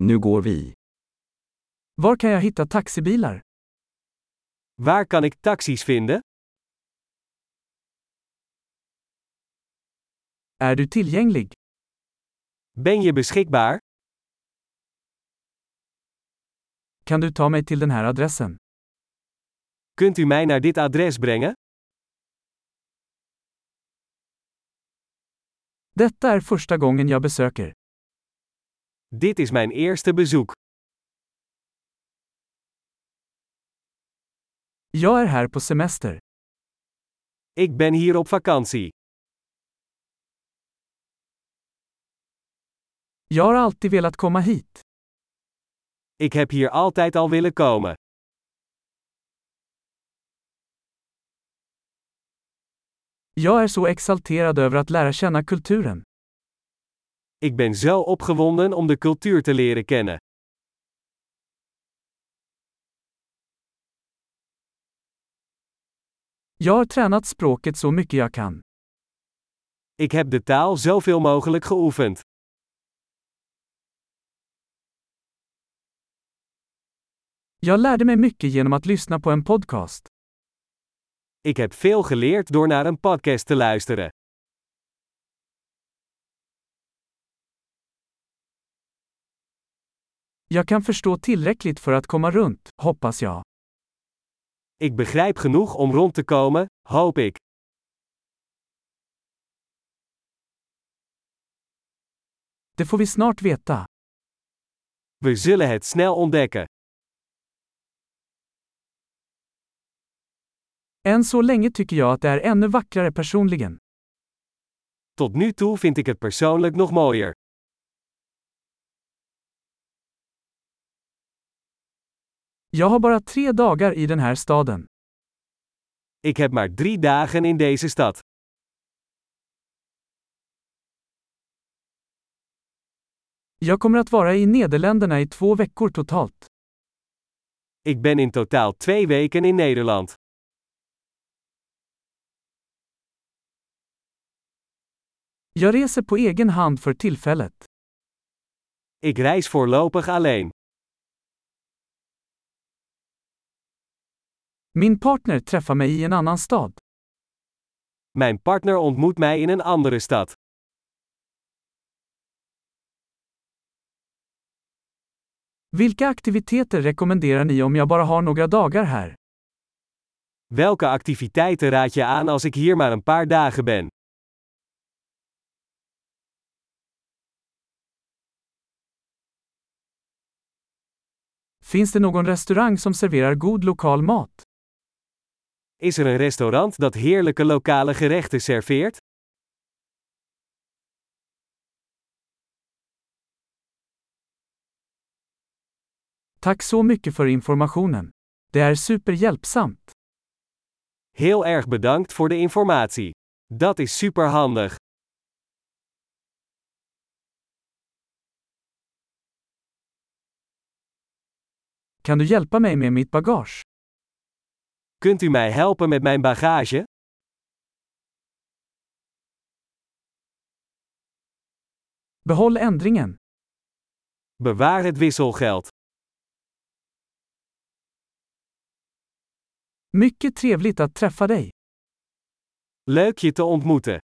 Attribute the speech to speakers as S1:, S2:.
S1: Nu går vi.
S2: Var kan jag hitta taxibilar?
S3: Waar kan ik taxis vinden?
S2: Är du tillgänglig?
S3: Ben je beschikbaar?
S2: Kan du ta mig till den här adressen?
S3: Kunt u mij naar dit adres brengen?
S2: Detta är första gången jag besöker.
S3: Dit is mijn eerste bezoek.
S2: Jag är här på semester.
S3: Ik ben hier op vakantie.
S2: Jag har alltid velat komma hit.
S3: Ik heb hier altijd al willen komen.
S2: Jag är så exalterad över att lära känna kulturen.
S3: Ik ben zo opgewonden om de cultuur te leren kennen.
S2: Jag har tränat språket så mycket jag kan.
S3: Ik heb de taal zoveel mogelijk geoefend.
S2: Jag lärde mig mycket genom att lyssna på en podcast.
S3: Ik heb veel geleerd door naar een podcast te luisteren.
S2: Jag kan förstå tillräckligt för att komma runt, hoppas jag.
S3: Ik begrijp genoeg om rond te komen, hoop ik.
S2: Det får vi snart veta.
S3: We zullen het snel ontdekken.
S2: Än så länge tycker jag att det är ännu vackrare personligen.
S3: Tot nu toe vind ik het persoonlijk nog mooier.
S2: Jag har bara tre dagar i den här staden.
S3: Ik heb maar drie dagen in deze stad.
S2: Jag kommer att vara i Nederländerna i två veckor totalt.
S3: Ik ben in totaal twee weken in Nederland.
S2: Jag reser på egen hand för tillfället.
S3: Ik reis voorlopig alleen.
S2: Min partner träffar mig i en annan stad.
S3: Mijn partner ontmoet mij in een andere stad.
S2: Vilka aktiviteter rekommenderar ni om jag bara har några dagar här?
S3: Welke activiteiten raad je aan als ik hier maar een paar dagen ben?
S2: Finns det någon restaurang som serverar god lokal mat?
S3: Is er een restaurant dat heerlijke lokale gerechten serveert?
S2: Tack så mycket för informationen. Det är superhjälpsamt.
S3: Heel erg bedankt voor de informatie. Dat is superhandig.
S2: Kan du hjälpa mig med mitt bagage?
S3: Kunt u mij helpen met mijn bagage?
S2: Behåll ändringen.
S3: Bewaar het wisselgeld.
S2: Mycket trevligt att träffa dig.
S3: Leuk je te ontmoeten.